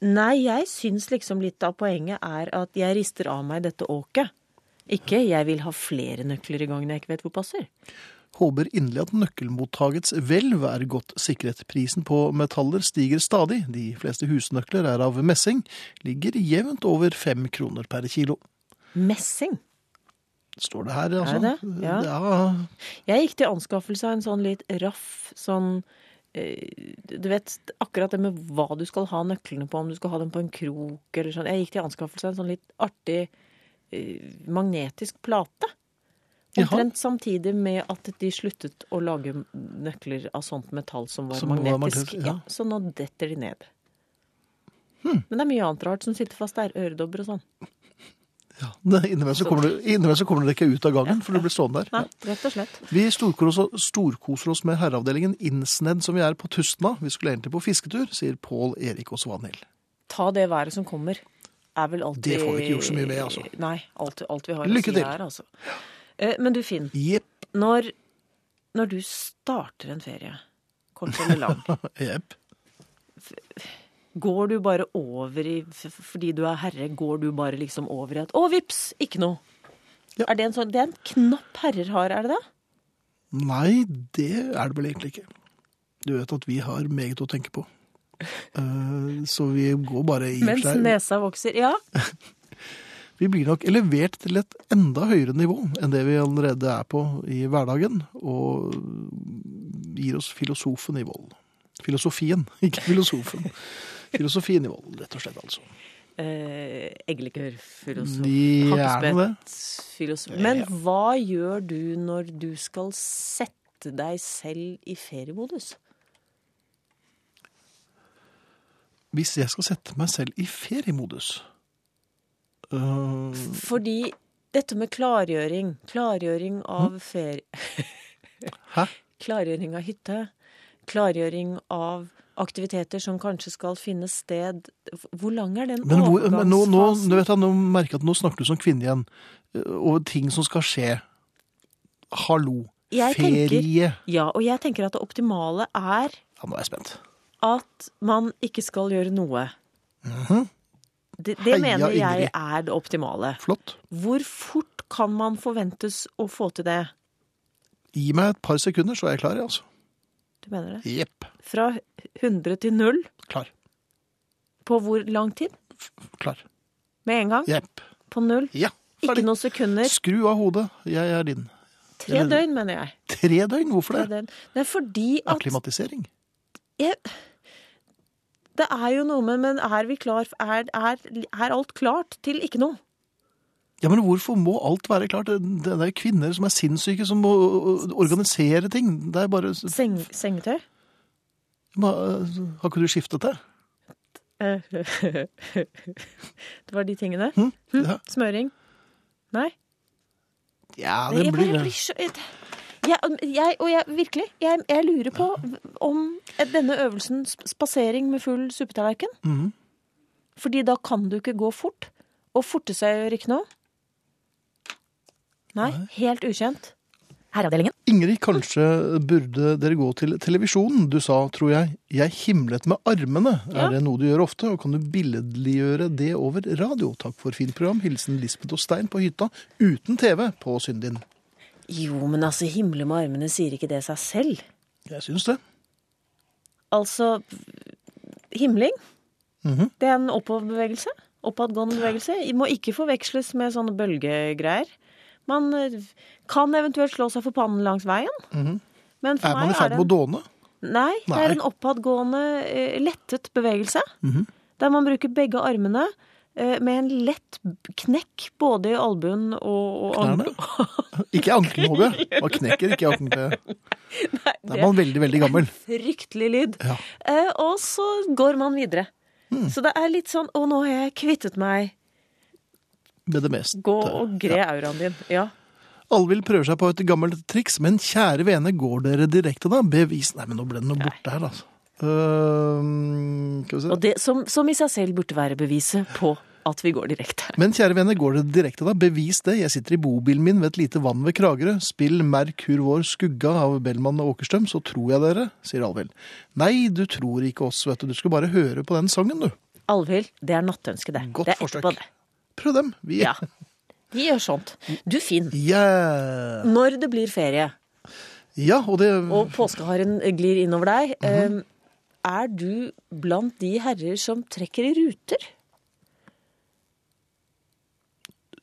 Nei, jeg syns liksom litt av poenget er at jeg rister av meg dette åket. Ikke 'jeg vil ha flere nøkler i gangen jeg ikke vet hvor passer'. Håper inderlig at nøkkelmottagets hvelv er godt sikret. Prisen på metaller stiger stadig. De fleste husnøkler er av messing. Ligger jevnt over fem kroner per kilo. Messing. Står det her, altså? det? Ja. ja. Jeg gikk til anskaffelse av en sånn litt raff sånn eh, du vet akkurat det med hva du skal ha nøklene på, om du skal ha dem på en krok eller sånn. Jeg gikk til anskaffelse av en sånn litt artig eh, magnetisk plate. Jaha. Omtrent samtidig med at de sluttet å lage nøkler av sånt metall som var Som var magnetisk. magnetisk, ja. Hm. ja. Så nå detter de ned. Men det er mye annet rart som sitter fast der. Øredobber og sånn. Ja, nei, Innimellom så kommer du- innimellom så kommer du deg ikke ut av gangen, for du blir stående der. Nei, rett og slett. Vi storkoser oss, storkoser oss med herreavdelingen innsnedd som vi er på Tustna. Vi skulle egentlig på fisketur, sier Pål Erik og Svanhild. ta det været som kommer, er vel alltid Det får vi ikke gjort så mye med, altså. Nei. Alt, alt vi har Lykke å si til. her, altså. Eh, Men du, Finn. Jepp. Når, når du starter en ferie, kort eller lang, Jepp. går du bare over i f- f- Fordi du er herre, går du bare liksom over i at Å, vips! Ikke noe. Ja. Er det, en sånn, det er en knapp herrer har, er det det? Nei, det er det vel egentlig ikke. Du vet at vi har meget å tenke på. Eh, så vi går bare i og for Mens seg- nesa vokser. Ja. Vi blir nok elevert til et enda høyere nivå enn det vi allerede er på i hverdagen, og gir oss filosofen i vold. Filosofien, ikke filosofen. Filosofien i vold, rett og slett, altså. Eh, Eggelikør, filosof. Gjerne det. Hakkespett, filosof. Men hva gjør du når du skal sette deg selv i feriemodus? Hvis jeg skal sette meg selv i feriemodus øh, Fordi dette med klargjøring, Mm. klargjøring av ferie Hæ? Klargjøring av hytte, klargjøring av aktiviteter som kanskje skal finne sted Hvor lang er den Men, hvor, men nå, nå, overgangsfasen? nå, vet jeg, nå merker jeg at nå snakker du som kvinne igjen. eh, Og ting som skal skje. Hallo. Jeg Ferie. tenker- Ja, og jeg tenker at det optimale er Ja, nå er jeg spent. at man ikke skal gjøre noe. Det, det Heia, mener Ingrid. jeg er det optimale. Flott. Hvor fort kan man forventes å få til det? Gi meg et par sekunder, så er jeg klar. jeg, Altså. Du mener det? Jepp. Fra 100 til 0 Klar. på hvor lang tid? Klar. Med en gang? Jepp. På null? Ja. Ikke Ferdig. noen sekunder. Skru av hodet. Jeg er din. Tre Eller- døgn, mener jeg. Tre døgn? Hvorfor Tre det? døgn. Det er fordi at Akklimatisering. jeg, Det er jo noe med Men er vi klar? Er, er, er alt klart til ikke noe? Ja, men hvorfor må alt være klart? Det det er kvinner som er sinnssyke, som må øh, organisere ting. Det er bare Seng, sengetøy? Ma- øh, Har ikke du skiftet det? Eh, det var de tingene. Hm? Ja. Smøring? Nei. ja, Nei, det jeg blir bare det. blir så jeg, jeg, Og jeg, virkelig, jeg, jeg lurer på om denne øvelsen, sp- spasering med full suppetallerken Mhm. Fordi da kan du ikke gå fort. Og forte seg gjør ikke noe. Nei, helt ukjent. Herreavdelingen. Ingrid, kanskje burde dere gå til televisjonen. Du sa, tror jeg, 'jeg himlet med armene'. Ja. Er det noe du gjør ofte? Og kan du billedliggjøre det over radio? Takk for fint program. Hilsen Lisbeth og Stein på hytta uten TV på Syndin. Jo, men altså, himle med armene sier ikke det seg selv. Jeg syns det. Altså, himling, Mhm. det er en oppoverbevegelse. Oppadgående bevegelse. Det Må ikke forveksles med sånne bølgegreier. Man eh, kan eventuelt slå seg for pannen langs veien. Men for Mhm. Er man i meg er ferd med det å en, dåne? nei, det Nei. Mhm. er en oppadgående, eh, lettet bevegelse. Der man bruker begge armene eh, med en lett b- knekk både i albuen og, og Knærne? Ikke i ankelhodet. Man knekker ikke i ankelhodet. Nei, Da det er man veldig, veldig gammel. Fryktelig lyd. Ja. Mm. Eh, og så går man videre. Så det er litt sånn 'Å, nå har jeg kvittet meg'. Med det meste. Gå og gre auraen din. Ja. Alvhild prøver seg på et gammelt triks, men kjære vene, går dere direkte da? Bevis Nei, men nå ble den noe borte her, altså. Øhm, skal vi se. Og det som, som i seg selv burde være beviset på at vi går direkte. Men kjære vene, går dere direkte da? Bevis det. Jeg sitter i bobilen min ved et lite vann ved Kragerø. Spill Merk hur vår skugga av Bellman og Åkerstrøm, så tror jeg dere, sier Alvhild. Nei, du tror ikke oss, vet du. Du skulle bare høre på den sangen, du. Alvhild, det er nattønsket, det. Godt det er forsøk. etterpå det. Prøv dem. Vi Ja. Vi gjør sånt. Du, Finn. Yeah. Når det blir ferie, Ja, og det og påskeharen glir innover deg, Mhm. eh, er du blant de herrer som trekker i ruter?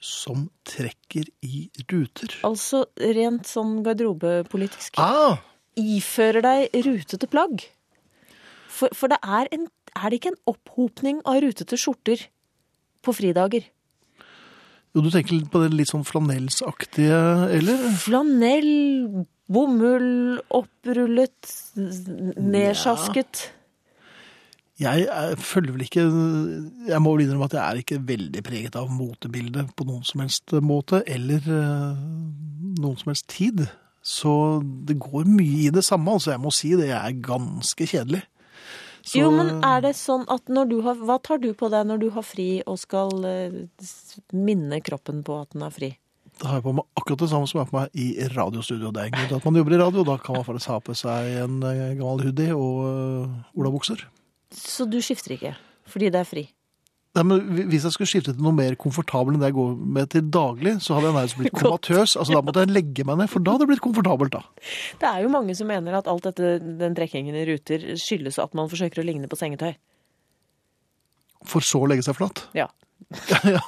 som trekker i ruter. Altså rent sånn garderobepolitisk. Ah! Ifører deg rutete plagg. For, for det er, en, er det ikke en opphopning av rutete skjorter på fridager? Jo, du tenker litt på det litt sånn flanellsaktige, eller? Flanell, bomull, opprullet, n- nedsjasket. Jeg er, følger vel ikke Jeg må vel innrømme at jeg er ikke veldig preget av motebildet på noen som helst måte, eller eh, noen som helst tid. Så det går mye i det samme, altså. Jeg må si det jeg er ganske kjedelig. Så- Jo, men er det sånn at når du har Hva tar du på deg når du har fri og skal eh, s- minne kroppen på at den har fri? Da har jeg på meg akkurat det samme som jeg har på meg i radiostudio. Det er en grunn til at man jobber i radio. Da kan man faktisk ha på seg en eh, gammel hoodie og uh, olabukser. Så du skifter ikke fordi det er fri? Nei, men Hvis jeg skulle skifte til noe mer komfortabel enn det jeg går med til daglig, så hadde jeg nærmest blitt komatøs. Altså, da måtte jeg legge meg ned, for da hadde det blitt komfortabelt. da. Det er jo mange som mener at alt dette, den trekkingen i ruter skyldes at man forsøker å ligne på sengetøy. For så å legge seg flat. Ja. Ja,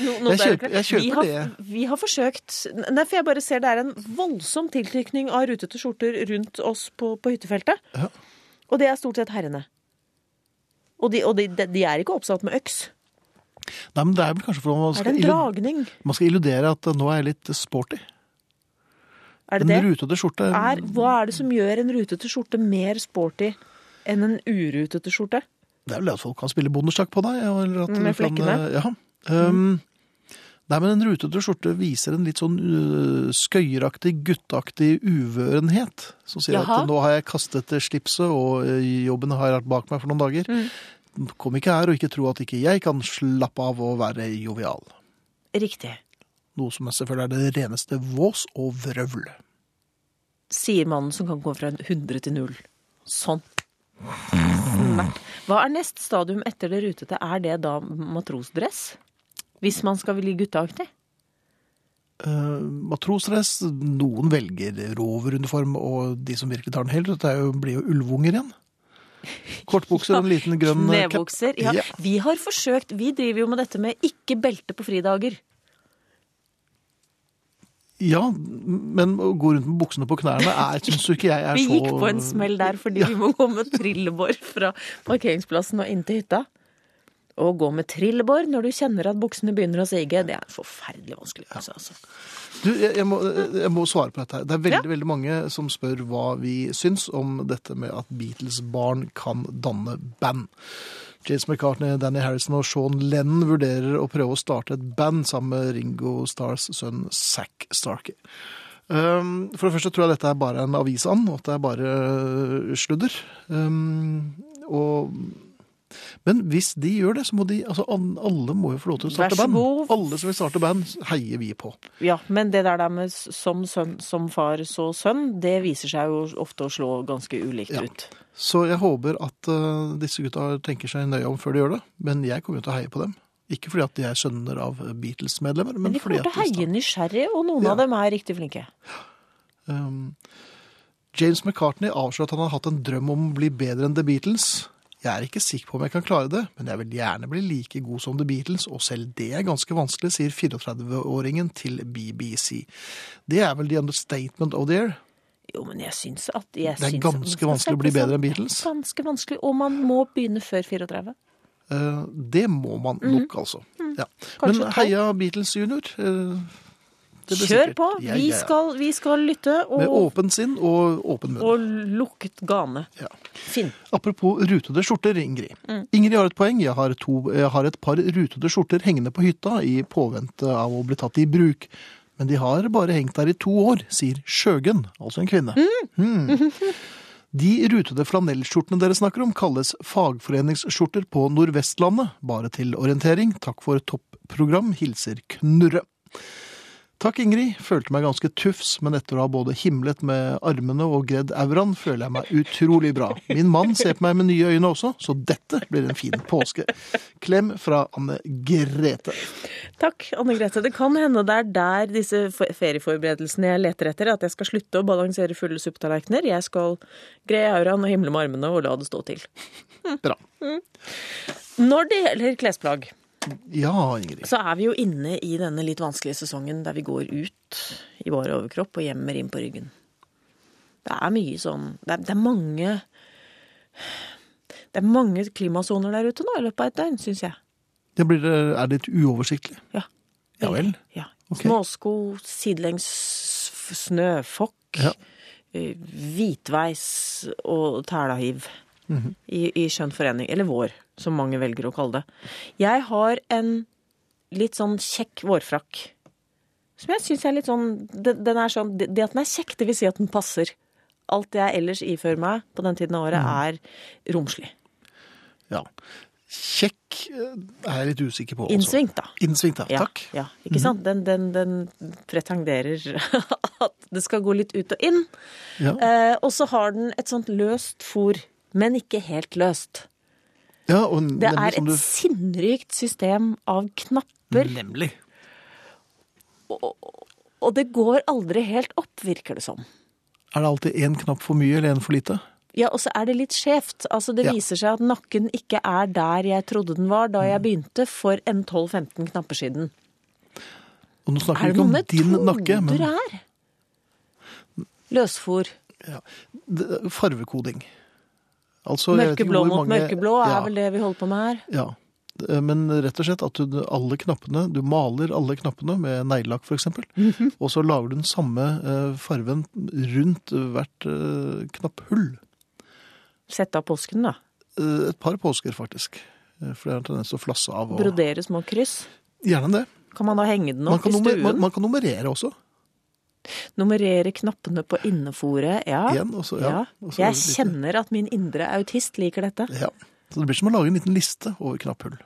Jo, nå jeg ble det kjøper, ikke- jeg kjøper vi har, det. Vi har forsøkt Nei, for jeg bare ser det er en voldsom tiltrykning av rutete skjorter rundt oss på, på hyttefeltet. Ja. Og det er stort sett herrene. Og de, og de, de de er ikke oppsatt med øks. det. Nei, men det er vel kanskje fordi man Er det skal, en illu- dragning? man skal illudere at eh, nå er jeg litt sporty. Er det En det? rutete skjorte Er, hva er det som gjør en rutete skjorte mer sporty enn en urutete skjorte? Det er vel det at folk kan spille bondesjakk på deg. Eller at Mm, Med du kan, flekkene. eh, Ja. Um, Nei, men en rutete skjorte viser en litt sånn øh, skøyeraktig, gutteaktig uvørenhet. Som sier Jaha. at nå har jeg kastet det slipset, og øh, jobben har jeg hatt bak meg for noen dager. Mm. Kom ikke her og ikke tro at ikke jeg kan slappe av og være jovial. Riktig. Noe som selvfølgelig er det reneste vås og vrøvl. Sier mannen som kan gå fra 100 til 0. Sånn. Snert. Hva er neste stadium etter det rutete? Er det da matrosdress? Hvis man skal bli gutteaktig? Eh, matrosdress, noen velger roveruniform, og de som virkelig tar den helt, det er jo, blir jo ulvunger igjen. Kortbukser, en liten grønn eh, cap. Knebukser. Ja. Ja. Vi har forsøkt. Vi driver jo med dette med ikke belte på fridager. Ja, men å gå rundt med buksene på knærne er, syns jo ikke jeg er Vi så gikk på en smell der fordi vi må gå med trillebår fra parkeringsplassen og inn til hytta. Å gå med trillebår når du kjenner at buksene begynner å sige, det er en forferdelig vanskelig øvelse, altså. Du, jeg, jeg, må, jeg må svare på dette her. Det er veldig veldig mange som spør hva vi syns om dette med at Beatles-barn kan danne band. James McCartney, Danny Harrison og Sean Lennon vurderer å prøve å starte et band sammen med Ringo Stars sønn Zack Starkey. Um, for det første tror jeg dette er bare en avisand, og at det er bare øh, sludder. Um, og, men hvis de gjør det, så må de altså, Alle må jo få lov til å Vær starte så band. god. Alle som vil starte band, heier vi på. Ja, men det der der med s- som, sønn, som far så sønn, det viser seg jo ofte å slå ganske ulikt Ja. ut. Så jeg håper at eh, disse gutta tenker seg nøye om før de gjør det. Men jeg kommer jo til å heie på dem. Ikke fordi at de er sønner av Beatles-medlemmer, men, Men de fordi kommer at til å heie nysgjerrig, og noen Ja. av dem er riktig flinke. Um, James McCartney avslører at han har hatt en drøm om å bli bedre enn The Beatles. Jeg er ikke sikker på om jeg kan klare det, men jeg vil gjerne bli like god som The Beatles, og selv det er ganske vanskelig, sier 34-åringen til BBC. Det er vel the understatement of the year. Jo, men jeg syns at Det jeg er syns at man ganske skal vanskelig å bli sette seg- bedre enn Beatles. Ganske vanskelig, og man må begynne før 34. Eh, det må man nok, altså. Ja. Men Mhm. Kanskje tolv. heia Beatles junior. eh, det blir Kjør sikkert. på! Ja, Vi ja, ja. skal, vi skal lytte Med og, åpen sinn og åpen munn. og lukket gane. Ja. Finn. Apropos rutede skjorter, Ingrid. Ingrid har et poeng. Jeg har, to, jeg har et par rutede skjorter hengende på hytta i påvente av å bli tatt i bruk. Men de har bare hengt der i to år, sier Sjøgen, altså en kvinne. Hmm. De rutede flanellskjortene dere snakker om, kalles fagforeningsskjorter på Nordvestlandet. Bare til orientering. Takk for topprogram. Hilser Knurre. Takk, Ingrid. Følte meg ganske tufs, men etter å ha både himlet med armene og gredd auraen, føler jeg meg utrolig bra. Min mann ser på meg med nye øyne også, så dette blir en fin påske. Klem fra Anne Grete. Takk, Anne Grete. Det kan hende det er der disse fe- ferieforberedelsene jeg leter etter, at jeg skal slutte å balansere fulle suppetallerkener. Jeg skal greie auraen og himle med armene og la det stå til. Bra. Når det gjelder klesplagg, Ja, Ingrid. så er vi jo inne i denne litt vanskelige sesongen der vi går ut i vår overkropp og gjemmer inn på ryggen. Det er mye sånn Det er, det er mange Det er mange klimasoner der ute nå i løpet av et døgn, syns jeg. Det blir, er litt uoversiktlig. Ja. Ja vel. Ja. Ok. Småsko, sidelengs f- snøfokk, Ja. eh, hvitveis og tælahiv. Mhm. I, I skjønn forening. Eller vår, som mange velger å kalle det. Jeg har en litt sånn kjekk vårfrakk. Som jeg syns er litt sånn den, den er sånn det, det at den er kjekk, det vil si at den passer. Alt jeg ellers ifører meg på den tiden av året, Mhm. er romslig. Ja. Kjekk eh, er jeg litt usikker på. også. Innsvingt, da. Innsvingt, ja. Ja, Takk. ja ikke sant? Den, den, den pretenderer at det skal gå litt ut og inn. Ja. Eh, og så har den et sånt løst fôr, men ikke helt løst. Ja, og Det nemlig er som et du- Mm. sinnrikt system av knapper, Nemlig. og det går aldri helt opp, virker det som. Er det alltid én knapp for mye eller én for lite? Ja, og så er det litt skjevt. Altså, det Ja. viser seg at nakken ikke er der jeg trodde den var da Mm. jeg begynte for en 12-15 knapper siden. Og nå snakker vi Er det ikke om noen din nakke, metoder men her? Løsfôr. Det- farvekoding. Altså, jeg vet ikke Mørkeblå hvor mot mange- mørkeblå er ja, vel det vi holder på med her. Ja. Eh, Men rett og slett at du, alle knappene, du maler alle knappene med neglelakk f.eks., eksempel, Mhm. og så lager du den samme eh, farven rundt hvert eh, knapphull. Sette av påsken, da. Eh, Et par påsker, faktisk. Eh, For det er en tendens til å flasse av. Og... Brodere små kryss. Gjerne det. Kan man da henge den Man opp kan, i nummer, stuen? man, man kan nummerere også. Nummerere knappene på inneforet. Ja. Igjen, og så- ja. Og så er Jeg det litt- kjenner at min indre autist liker dette. Ja. Så det blir som å lage en liten liste over knapphull.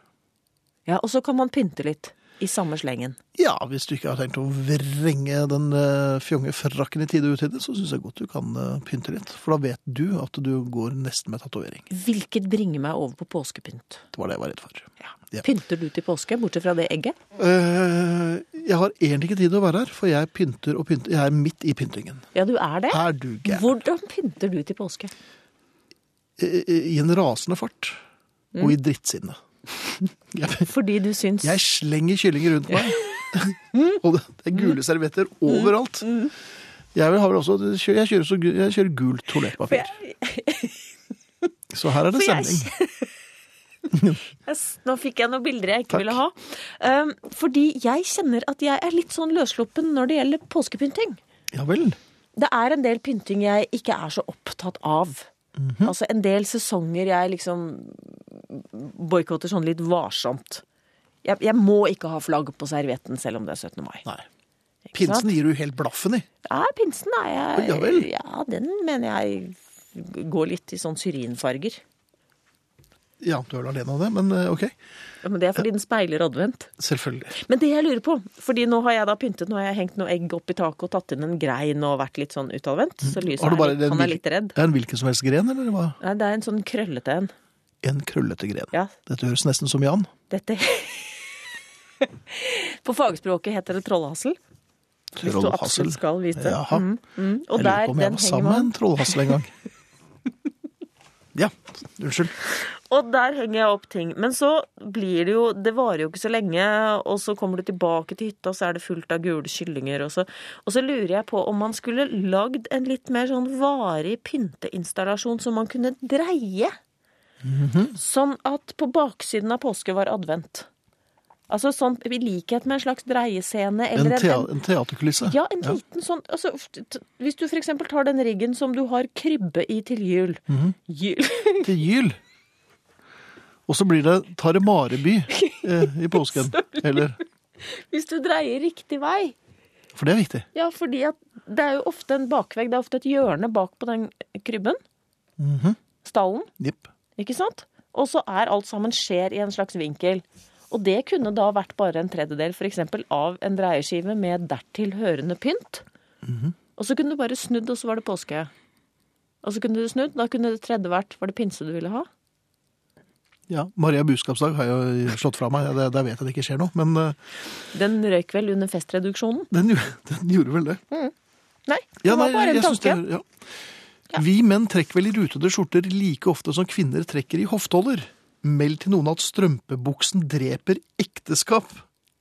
Ja, Og så kan man pynte litt. I samme slengen. Ja, hvis du ikke har tenkt å vrenge den eh, fjonge frakken i tide og utide, så syns jeg godt du kan eh, pynte litt. For da vet du at du går nesten med tatovering. Hvilket bringer meg over på påskepynt. Det var det jeg var redd for. Ja. Pynter du til påske, bortsett fra det egget? Eh, jeg har egentlig ikke tid til å være her, for jeg pynter og pynter. Jeg er midt i pyntingen. Ja, du er det. Er du gæren? Hvordan pynter du til påske? I, I en rasende fart. Og Mm. i drittsinne. Jeg, Fordi du syns jeg slenger kyllinger rundt meg. og det det er gule servietter overalt. Mm. Jeg vil ha vel også Jeg kjører, så, gu- jeg kjører gult toalettpapir. Så her er det For jeg stemning. Yes, Nå fikk jeg noen bilder jeg ikke Takk. ville ha. Um, fordi jeg kjenner at jeg er litt sånn løssluppen når det gjelder påskepynting. Ja vel. Det er en del pynting jeg ikke er så opptatt av. Mhm. Altså en del sesonger jeg liksom boikotter sånn litt varsomt. Jeg, jeg må ikke ha flagg på servietten selv om det er 17. mai. Nei. Pinsen gir du helt blaffen i. Ja, pinsen er Å, jeg ja vel. Ja, den mener jeg går litt i sånn syrinfarger. Ja, du er vel alene om det, men eh, OK. Ja, men det er fordi den speiler advent. Selvfølgelig. Men det jeg lurer på, fordi nå har jeg da pyntet, nå har jeg hengt noe egg opp i taket og tatt inn en grein og vært litt sånn utadvendt, så lyset Mm. Har du er bare litt, den han er hvil- litt redd. Det er en hvilken som helst gren, eller hva? Nei, det er en sånn krøllete en. En krøllete gren. Ja. Dette høres nesten som Jan. Dette På fagspråket heter det trollhassel. Hvis du Trollhassel. absolutt skal vite. Jaha. Mm, og Jeg lurer på der, om jeg den var henger sammen med man, en trollhassel en gang. ja, unnskyld. og der henger jeg opp ting. Men så blir det jo Det varer jo ikke så lenge, og så kommer du tilbake til hytta, og så er det fullt av gule kyllinger, og så, og så lurer jeg på om man skulle lagd en litt mer sånn varig pynteinstallasjon som man kunne dreie. Sånn at på baksiden av påske var advent. Altså sånn i likhet med en slags dreiescene En, eller tea en teaterkulisse. ja, en liten sånn altså, f- t- Hvis du f.eks. tar den riggen som du har krybbe i til jul Jul Til Gyl. Og så blir det Taremareby eh, i påsken. Eller, Hvis du dreier riktig vei. for det er viktig. Ja, fordi at det er jo ofte en bakvegg. Det er ofte et hjørne bak på den krybben. Mhm. Stallen, Jipp. ikke sant? Og så er alt sammen skjer i en slags vinkel. Og det kunne da vært bare en tredjedel for eksempel, av en dreieskive med dertil hørende pynt. Mhm. Og så kunne du bare snudd, og så var det påske. Og så kunne du snudd, da kunne det tredje vært Var det pinse du ville ha? Ja, Maria Buskapsdag har jeg jo slått fra meg. Der, der vet jeg det ikke skjer noe. Men eh, Den røyk vel under festreduksjonen? den, gjorde- den gjorde vel det. Nei, det Ja, var nei, bare en jeg synes tanke. det- ja. Vi menn trekker vel i rutede skjorter like ofte som kvinner trekker i hofteholder. Meld til noen at strømpebuksen dreper ekteskap.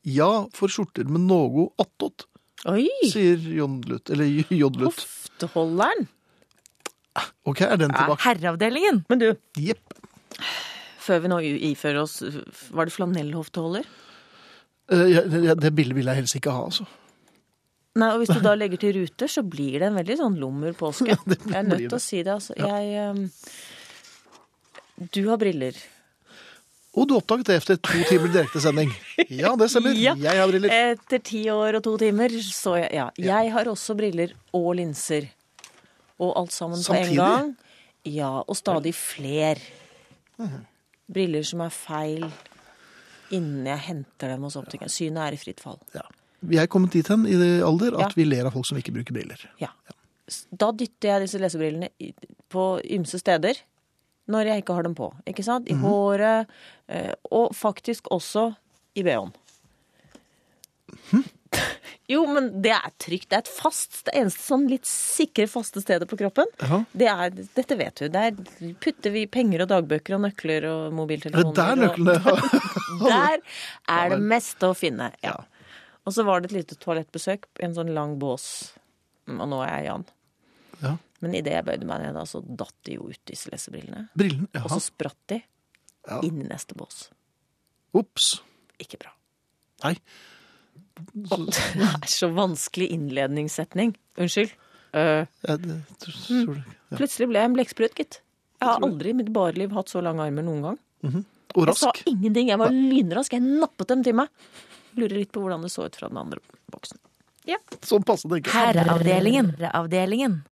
Ja, for skjorter med noe attåt, Oi! sier Jon Lutt. Eller Jon Lutt. Hofteholderen. Ok, er den Ja, tilbake? Herreavdelingen. Men du, Jepp. før vi nå ifører oss Var det flanellhofteholder? Eh, ja, ja, Det bildet vil jeg helst ikke ha, altså. Nei, og hvis du da legger til ruter, så blir det en veldig sånn lummer påske. det Jeg er blir nødt til det. å si det, altså. Jeg ehm, Du har briller. Og du oppdaget det etter to timer direktesending. Ja, det stemmer. Ja. Jeg har briller. Etter ti år og to timer, så jeg Ja. Jeg har også briller og linser. Og alt sammen Samtidig? på en gang. Ja, og stadig fler. Mhm. Briller som er feil innen jeg henter dem hos optikeren. Synet er i fritt fall. Ja. Vi er kommet dit hen i det alder at Ja. vi ler av folk som ikke bruker briller. Ja. S- Da dytter jeg disse lesebrillene i- på ymse steder når jeg ikke har dem på. Ikke sant? I Mhm. håret, eh, og faktisk også i BH-en. Mhm. Jo, men det er trygt. Det er et fast, det eneste sånn litt sikre, faste stedet på kroppen. Jaha. Det er, dette vet du. Der putter vi penger og dagbøker og nøkler og Er mobiltelefoner. det der og- nøklene der er det meste å finne. Ja. Og så var det et lite toalettbesøk i en sånn lang bås. Mm, Og nå er jeg Jan. Ja. Men idet jeg bøyde meg ned, da, så datt de jo ut, disse lesebrillene. Brillene? Og Jaha. så spratt de Ja. inn i neste bås. Ops. Ikke bra. Nei. Det er så vanskelig innledningssetning. Unnskyld. Eh, Jeg, det, Mm. tror- tror det. Ja. Plutselig ble jeg en blekksprut, gitt. Jeg har aldri i mitt bare liv hatt så lange armer noen gang. Og Jeg sa rask. ingenting. Jeg var lynrask. Jeg nappet dem til meg. Lurer litt på hvordan det så ut fra den andre boksen. Ja. Sånn passe, tenker jeg. Herreavdelingen. Herreavdelingen.